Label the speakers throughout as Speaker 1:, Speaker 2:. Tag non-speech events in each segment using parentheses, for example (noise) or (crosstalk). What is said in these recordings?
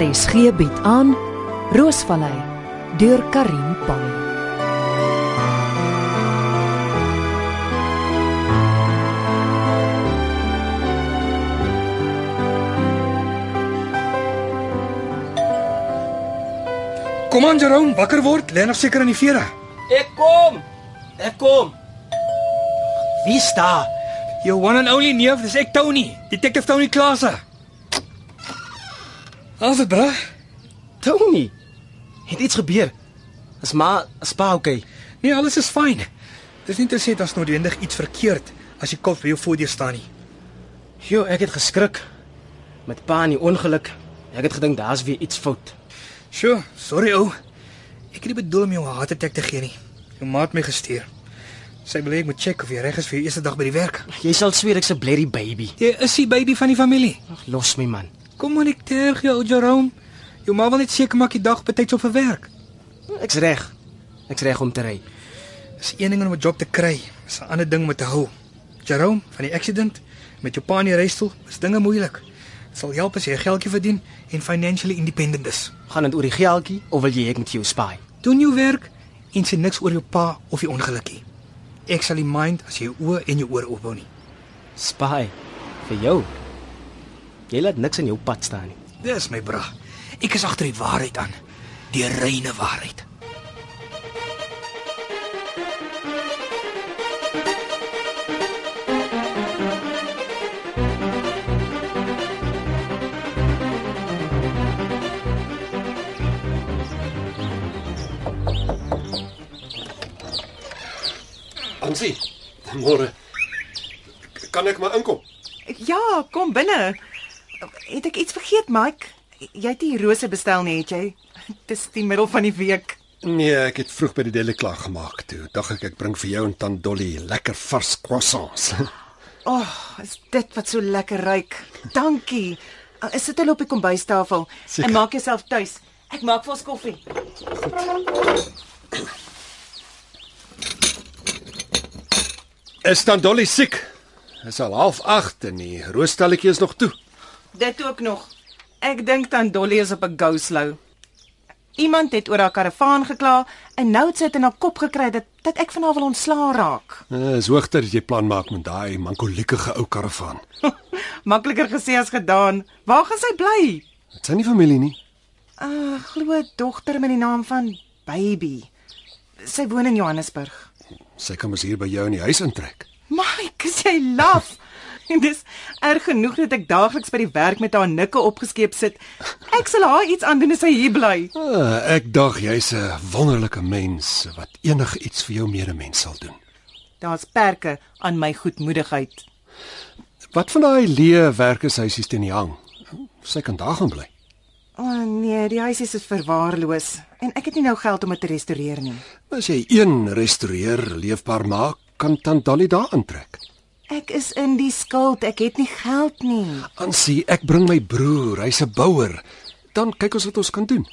Speaker 1: RSG bied aan Roosvallei deur Karin Pan.
Speaker 2: Kom aan Jerome, wakker word, lê nog seker aan die vere.
Speaker 3: Ek kom. Ek kom. Wie is daar?
Speaker 2: Jou one and only neef, dis ek Tony, Detective Tony Klase. Alfred, bra.
Speaker 3: Tony. Het iets gebeur? Is maar is pa okay?
Speaker 2: Nee, alles is fyn. Dis nie te sê dat's noodwendig iets verkeerd as die kop by jou voor jou staan nie.
Speaker 3: Jo, ek het geskrik met pa in die ongeluk. Ek het gedink daar's weer iets fout.
Speaker 2: Sjoe, sorry ou. Ek het nie bedoel om jou 'n heart attack te gee nie. Jou maat het my gestuur. Sy wil hê ek moet check of jy reg is vir jou eerste dag by die werk.
Speaker 3: Jy sal sweer ek's 'n blerry baby.
Speaker 2: Jy is die baby van die familie.
Speaker 3: Ag, los my man.
Speaker 2: Kom maar ek terug jou Jerome. Jou ma wil net seker maak die dag betyds op vir werk.
Speaker 3: Ek's reg. Ek's reg om te ry.
Speaker 2: Dis een ding om 'n job te kry, is 'n ander ding om te hou. Jerome, van die accident met jou pa in die reistool, is dinge moeilik. Dit sal help as jy geldjie verdien en financially independent is.
Speaker 3: Gaan dit oor die geldjie of wil jy ek moet jou spy?
Speaker 2: Doen jou werk en sê niks oor jou pa of die ongelukkie. Ek sal nie mind as jy jou oë en jou oor ophou nie.
Speaker 3: Spy vir jou. Jy laat niks in jou pad staan nie.
Speaker 2: Dis my bra. Ek is agter die waarheid aan. Die reine waarheid.
Speaker 4: Ansie, môre kan ek maar inkom.
Speaker 5: Ja, kom binne. Het ek iets vergeet, Mike? Jy het die rose bestel nie, het jy? (laughs) Dis die middel van die week.
Speaker 4: Nee, ek het vroeg by die deli klaar gemaak toe. Dag ek ek bring vir jou en tant Dolly lekker vars croissants. (laughs)
Speaker 5: O, oh, is dit wat so lekker ruik. Dankie. Uh, Sit hulle op die kombuistafel
Speaker 4: Seker.
Speaker 5: en maak jouself tuis. Ek maak vir ons koffie.
Speaker 4: is tant Dolly siek? Is al half 8 en die roostalletjie is nog toe.
Speaker 5: Dit ook nog. Ek dink dan Dolly is op 'n go slow. Iemand het oor haar karavaan gekla en nou het sy dit in haar kop gekry dat dat ek van haar wil ontslaa raak. (laughs)
Speaker 4: Eh, Is hoogtyd dat jy plan maak met daai mankoliekige ou karavaan.
Speaker 5: Makliker gesê as gedaan. Waar gaan sy bly?
Speaker 4: Dit s'n nie familie nie.
Speaker 5: Ah, glo dogter met die naam van Baby. Sy woon in Johannesburg.
Speaker 4: Sy kan mos hier by jou in die huis intrek.
Speaker 5: Mike, is jy laf? (laughs) Dis erg genoeg dat ek daagliks by die werk met haar nikke opgeskeep sit. Ek sal haar iets aandoen as sy hier bly.
Speaker 4: Ah, ek dag jy's 'n wonderlike mens wat enigiets vir jou medemens sal doen.
Speaker 5: Daar's perke aan my goedmoedigheid.
Speaker 4: Wat van daai leë werkershuisies teen die hang? Sy kan daar gaan bly.
Speaker 5: O oh, nee, die huis is verwaarloos en ek het nie nou geld om dit te restoreer nie.
Speaker 4: As jy een restaureer leefbaar maak, kan tant Dolly daar intrek.
Speaker 5: Ek is in die skuld, ek het nie geld nie.
Speaker 4: Ansie, ek bring my broer, hy's 'n bouer. Dan kyk ons wat ons kan doen.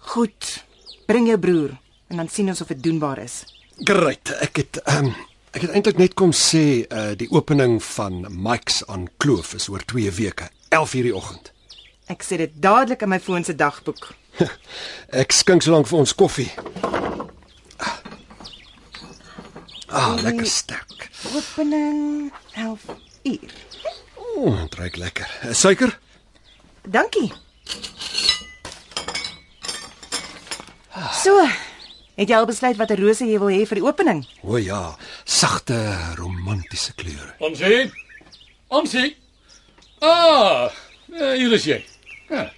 Speaker 5: Goed. Bring jou broer en dan sien ons of dit doenbaar is.
Speaker 4: Great. Ek het um, ek het eintlik net kom sê uh, die opening van Mike's aan Kloof is oor 2 weke, 11:00 die oggend.
Speaker 5: Ek sit dit dadelik in my foon se dagboek.
Speaker 4: Ek skink so lank vir ons koffie. Ah, lekker sterk.
Speaker 5: Opening 11 uur.
Speaker 4: Ooh, dit Mm, ruik lekker. Eh, Suiker?
Speaker 5: Dankie. So, het jy al besluit watter rose jy wil hê vir die opening?
Speaker 4: O ja, sagte, romantiese kleure.
Speaker 6: Onsie. Onsie. Ah, eh, hier is jy. Ja.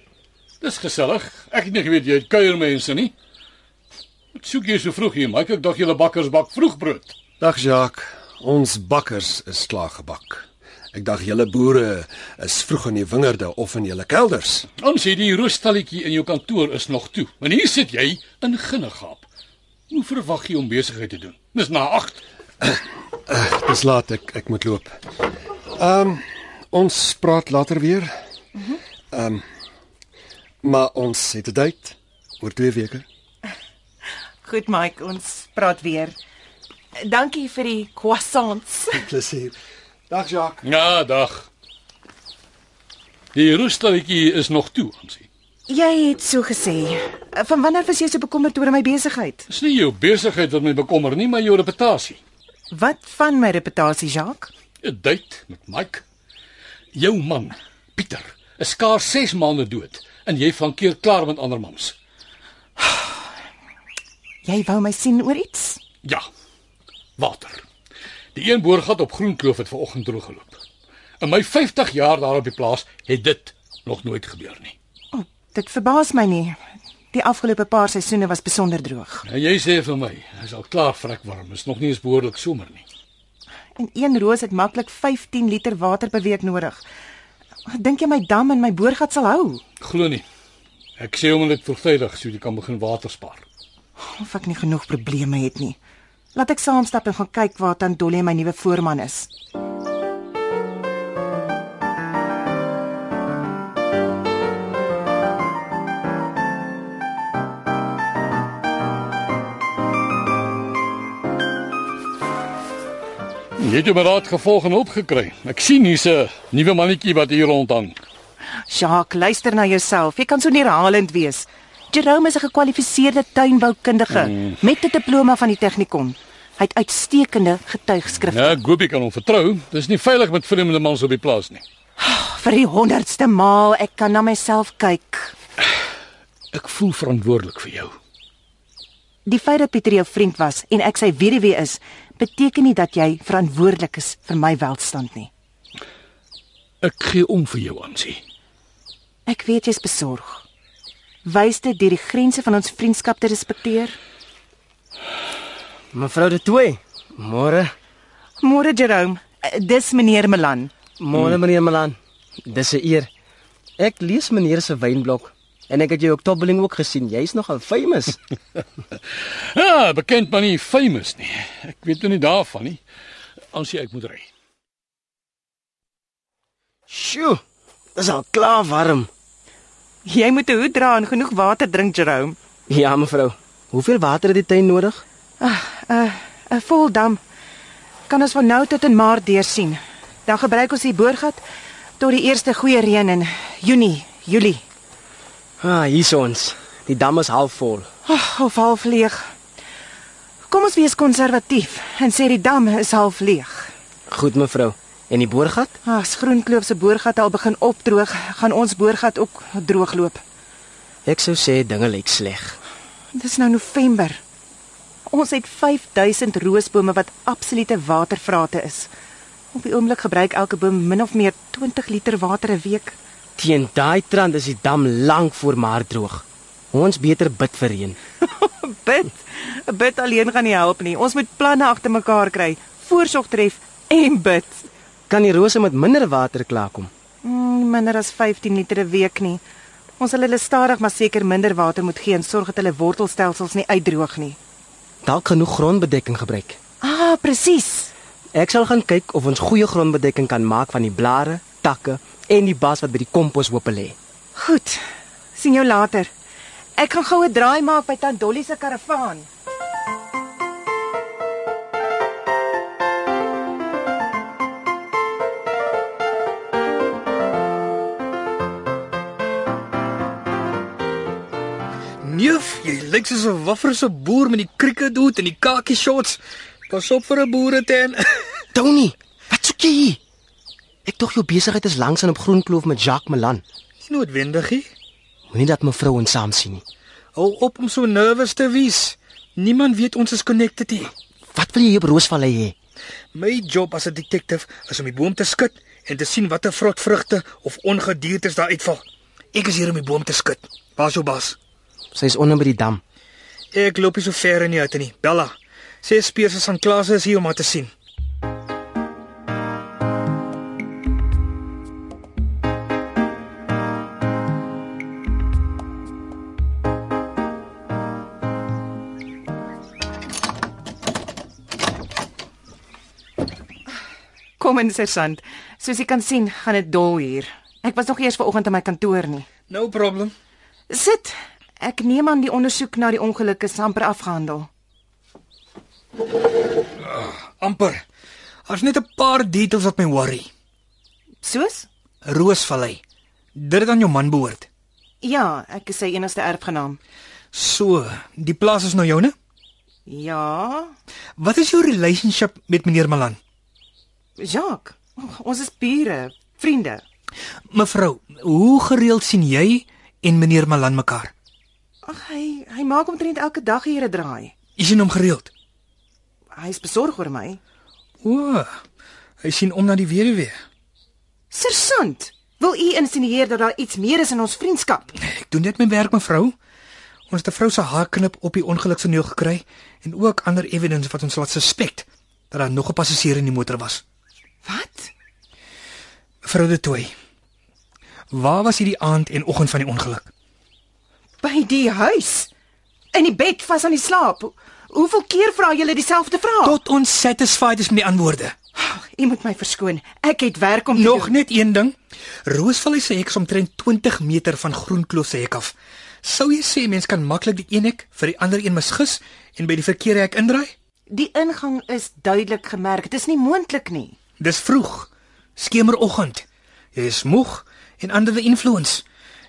Speaker 6: Dis gesellig. Ek het nie geweet jy het kuiermense nie. Wat soek jy so vroeg hier, Mike? Ek dink julle bakkers bak vroegbrood.
Speaker 4: Dag Jacques, ons bakkers is klaar gebak. Ek dag julle boere is vroeg in die wingerde of in julle kelders.
Speaker 6: Onsie, die roostalletjie in jou kantoor is nog toe. En hier sit jy in ginnegaap. Hoe verwag jy om besigheid te doen? Dis na 8.
Speaker 4: Dis laat ek ek moet loop. Ehm ons praat later weer. Ehm maar ons het 'n date oor 2 weke.
Speaker 5: Goed, Mike, ons praat weer. Dankie vir die croissants.
Speaker 4: Plesier. Dag Jacques.
Speaker 6: Ja, dag. Ja, Die roesterretjie is nog toe, Ansie.
Speaker 5: Jy het so gesê. Van wanneer was jy so bekommerd oor my besigheid?
Speaker 6: Dis nie jou besigheid wat my bekommer nie, maar jou reputasie.
Speaker 5: Wat van my reputasie, Jacques?
Speaker 6: 'n Date met Mike. Jou man, Pieter, is skaars 6 maande dood en jy flankeer klaar met ander mans.
Speaker 5: Jy wou my sien oor iets?
Speaker 6: Ja. Water. Die een boorgat op Groenkloof het vanoggend droog geloop. In my 50 jaar daar op die plaas het dit nog nooit gebeur nie.
Speaker 5: O, dit verbaas my nie. Die afgelope paar seisoene was besonder droog.
Speaker 6: En jy sê vir my, hy's al klaar vrek warm, is nog nie eens behoorlik somer nie.
Speaker 5: En een roos het maklik 15 liter water per week nodig. Dink jy my dam en my boorgat sal hou?
Speaker 6: Glo nie. Ek sê hom net vroegtydig sodat jy kan begin water spaar.
Speaker 5: Of ek nie genoeg probleme het nie. Laat ek saamstap en gaan kyk waar tant Dolly my nuwe voorman is.
Speaker 6: Jy het jou raad gevolg en opgekry. Ek sien hier's 'n nuwe mannetjie wat hier rondhang.
Speaker 5: Jacques, luister na jouself. Jy kan so neerhalend wees. Jerome is 'n gekwalifiseerde tuinboukundige met 'n diploma van die Tegnikon. Hy het uitstekende getuigskrifte.
Speaker 6: Ja, Goopie kan hom vertrou. Dis nie veilig met vreemde mans op die plaas nie.
Speaker 5: Vir die 100ste maal ek kan na myself kyk.
Speaker 6: Ek voel verantwoordelik vir jou.
Speaker 5: Die feit dat Pieter jou vriend was en ek sy weduwee is, beteken nie dat jy verantwoordelik is vir my welstand nie.
Speaker 6: Ek gee om vir jou, Ansie.
Speaker 5: Ek weet jy's besorg. Wys dit deur die grense van ons vriendskap te respekteer.
Speaker 3: Mevrou De Tooy. Môre.
Speaker 5: Môre Jerome, eh, dis meneer Milan.
Speaker 3: Môre meneer Malan. Dis 'n eer. Ek lees meneer se wynblok en ek het jou op Tobbeling ook gesien. Jy's nogal famous.
Speaker 6: Ja, bekend maar nie famous nie. Ek weet nou nie daarvan nie. Ansie, ek moet ry.
Speaker 3: (laughs) Sjoe. Dis al klaar warm.
Speaker 5: Jy moet 'n hoed dra en genoeg water drink Jerome.
Speaker 3: Ja mevrou. Hoeveel water het die tuin nodig?
Speaker 5: 'n Ah, eh, Vol dam. Kan ons van nou tot in Maart deursien. Dan gebruik ons die boorgat tot die eerste goeie reën in Junie, Julie.
Speaker 3: Ah, hier's ons. Die dam is halfvol.
Speaker 5: Ag, of half leeg. Kom ons wees konservatief en sê die dam is half leeg. Ah,
Speaker 3: Goed mevrou. En die boorgat?
Speaker 5: As Groenkloof se boorgat al begin opdroog, gaan ons boorgat ook droogloop.
Speaker 3: Ek sou sê dinge lyk sleg.
Speaker 5: Dis nou November. Ons het 5000 roosbome wat absolute watervrate is. Op die oomblik gebruik elke boom min of meer 20 liter water 'n week.
Speaker 3: Teen daai trant is die dam lank voor maar droog. Ons beter bid vir reën.
Speaker 5: Bid, bid alleen gaan nie help nie. Ons moet planne agter mekaar kry, voorsorg tref en bid.
Speaker 3: Kan die rose met minder water klaarkom?
Speaker 5: Mm, minder as 15 liter 'n week nie. Ons sal hulle stadig maar seker minder water moet gee en sorg dat hulle wortelstelsels nie uitdroog nie.
Speaker 3: Dalk genoeg grondbedekking gebruik.
Speaker 5: Ah, presies.
Speaker 3: Ek sal gaan kyk of ons goeie grondbedekking kan maak van die blare, takke en die bas wat by die komposhope lê.
Speaker 5: Goed. sien jou later. Ek gaan gou 'n draai maak by tant Dolly se karavaan.
Speaker 2: Neef, jy lyk soos 'n wafferse boer met die crickethoed en die kakie shorts. Pas op vir 'n (laughs) boeretent.
Speaker 3: Tony, wat soek jy hier? Ek dink jou besigheid is langs aan op Groenkloof met Jacques Malan.
Speaker 2: Dis noodwendig. nie.
Speaker 3: Moenie dat mevrou ons saam sien nie.
Speaker 2: Hou op om so nervous te wees. Niemand weet ons is connected nie.
Speaker 3: Wat wil jy hier op Roosvallei hê?
Speaker 2: My job as 'n detective is om die boom te skud en te sien watter vrot vrugte of ongediertes daar uitval. Ek is hier om die boom te skud. Waar's jou baas?
Speaker 3: Sy is onder by die dam.
Speaker 2: Ek loop nie so ver in die hutte nie. Bella, sê Spears se Sanklaas is hier om haar te sien.
Speaker 5: Kom in, sergeant. Soos jy kan sien, gaan dit dol hier. Ek was nog eers vanoggend in my kantoor nie.
Speaker 2: No problem.
Speaker 5: Sit. Ek neem aan die ondersoek na die ongeluk is amper afgehandel.
Speaker 2: Amper. Daar's net 'n paar details wat my worry.
Speaker 5: Soos?
Speaker 2: Roosvallei. Dit het aan jou man behoort.
Speaker 5: Ja, ek is sy enigste erfgenaam.
Speaker 2: So, die plaas is nou joune?
Speaker 5: Ja,
Speaker 2: Wat is jou relationship met meneer Malan?
Speaker 5: Jacques. Ons is bure, vriende.
Speaker 2: Mevrou, hoe gereeld sien jy en meneer Malan mekaar?
Speaker 5: Ag hy, hy maak omtrent elke dag hier 'n draai.
Speaker 2: Jy sien hom gereeld.
Speaker 5: Hy is besorg oor my.
Speaker 2: O, hy sien om na die weduwee.
Speaker 5: Sersant, wil u insinueer dat daar iets meer is in ons vriendskap?
Speaker 2: Ek doen net my werk, mevrou. Ons het 'n vrou se haarknip op die ongeluksoneel gekry en ook ander evidence wat ons laat suspek dat daar nog 'n passasier in die motor was.
Speaker 5: Wat?
Speaker 2: Mevrou De Tooy. Waar was hierdie aand en oggend van die ongeluk?
Speaker 5: By die huis. In die bed vas aan die slaap. Hoeveel keer vra julle dieselfde vraag?
Speaker 2: Tot ons satisfied is met die antwoorde.
Speaker 5: U moet my verskoon. Ek het werk om te
Speaker 2: Nog
Speaker 5: doen.
Speaker 2: net een ding. Roosvallei se hek is omtrent 20 meter van Groenkloof se hek af. Sou jy sê mens kan maklik die een hek vir die ander een misgis en by die verkeerde hek indraai?
Speaker 5: Die ingang is duidelik gemerk. Dit is nie moontlik nie.
Speaker 2: Dis vroeg, skemeroggend. Jy is moeg en under the influence.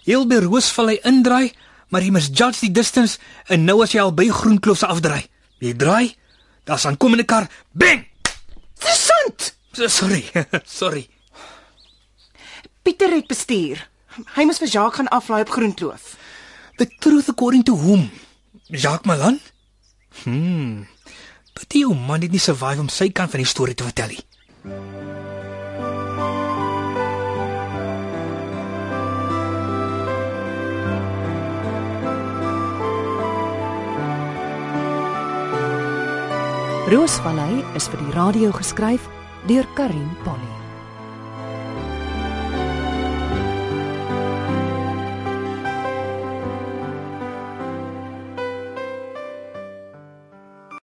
Speaker 2: Heel by Roosvallei indraai, maar jy misjudge die distance en nou as jy al by Groenkloof se afdraai. Jy draai, daar's aankomende kar, bang.
Speaker 5: Sersant,
Speaker 2: Sorry, (laughs) sorry.
Speaker 5: Pieter het bestuur. Hy moes vir Jacques gaan aflaai op Groenkloof.
Speaker 2: The truth according to whom? Jacques Malan? Hmm. But die ou man het nie survive om sy kant van die storie te vertel nie.
Speaker 1: Roosvallei is vir die radio geskryf deur Karin Polly.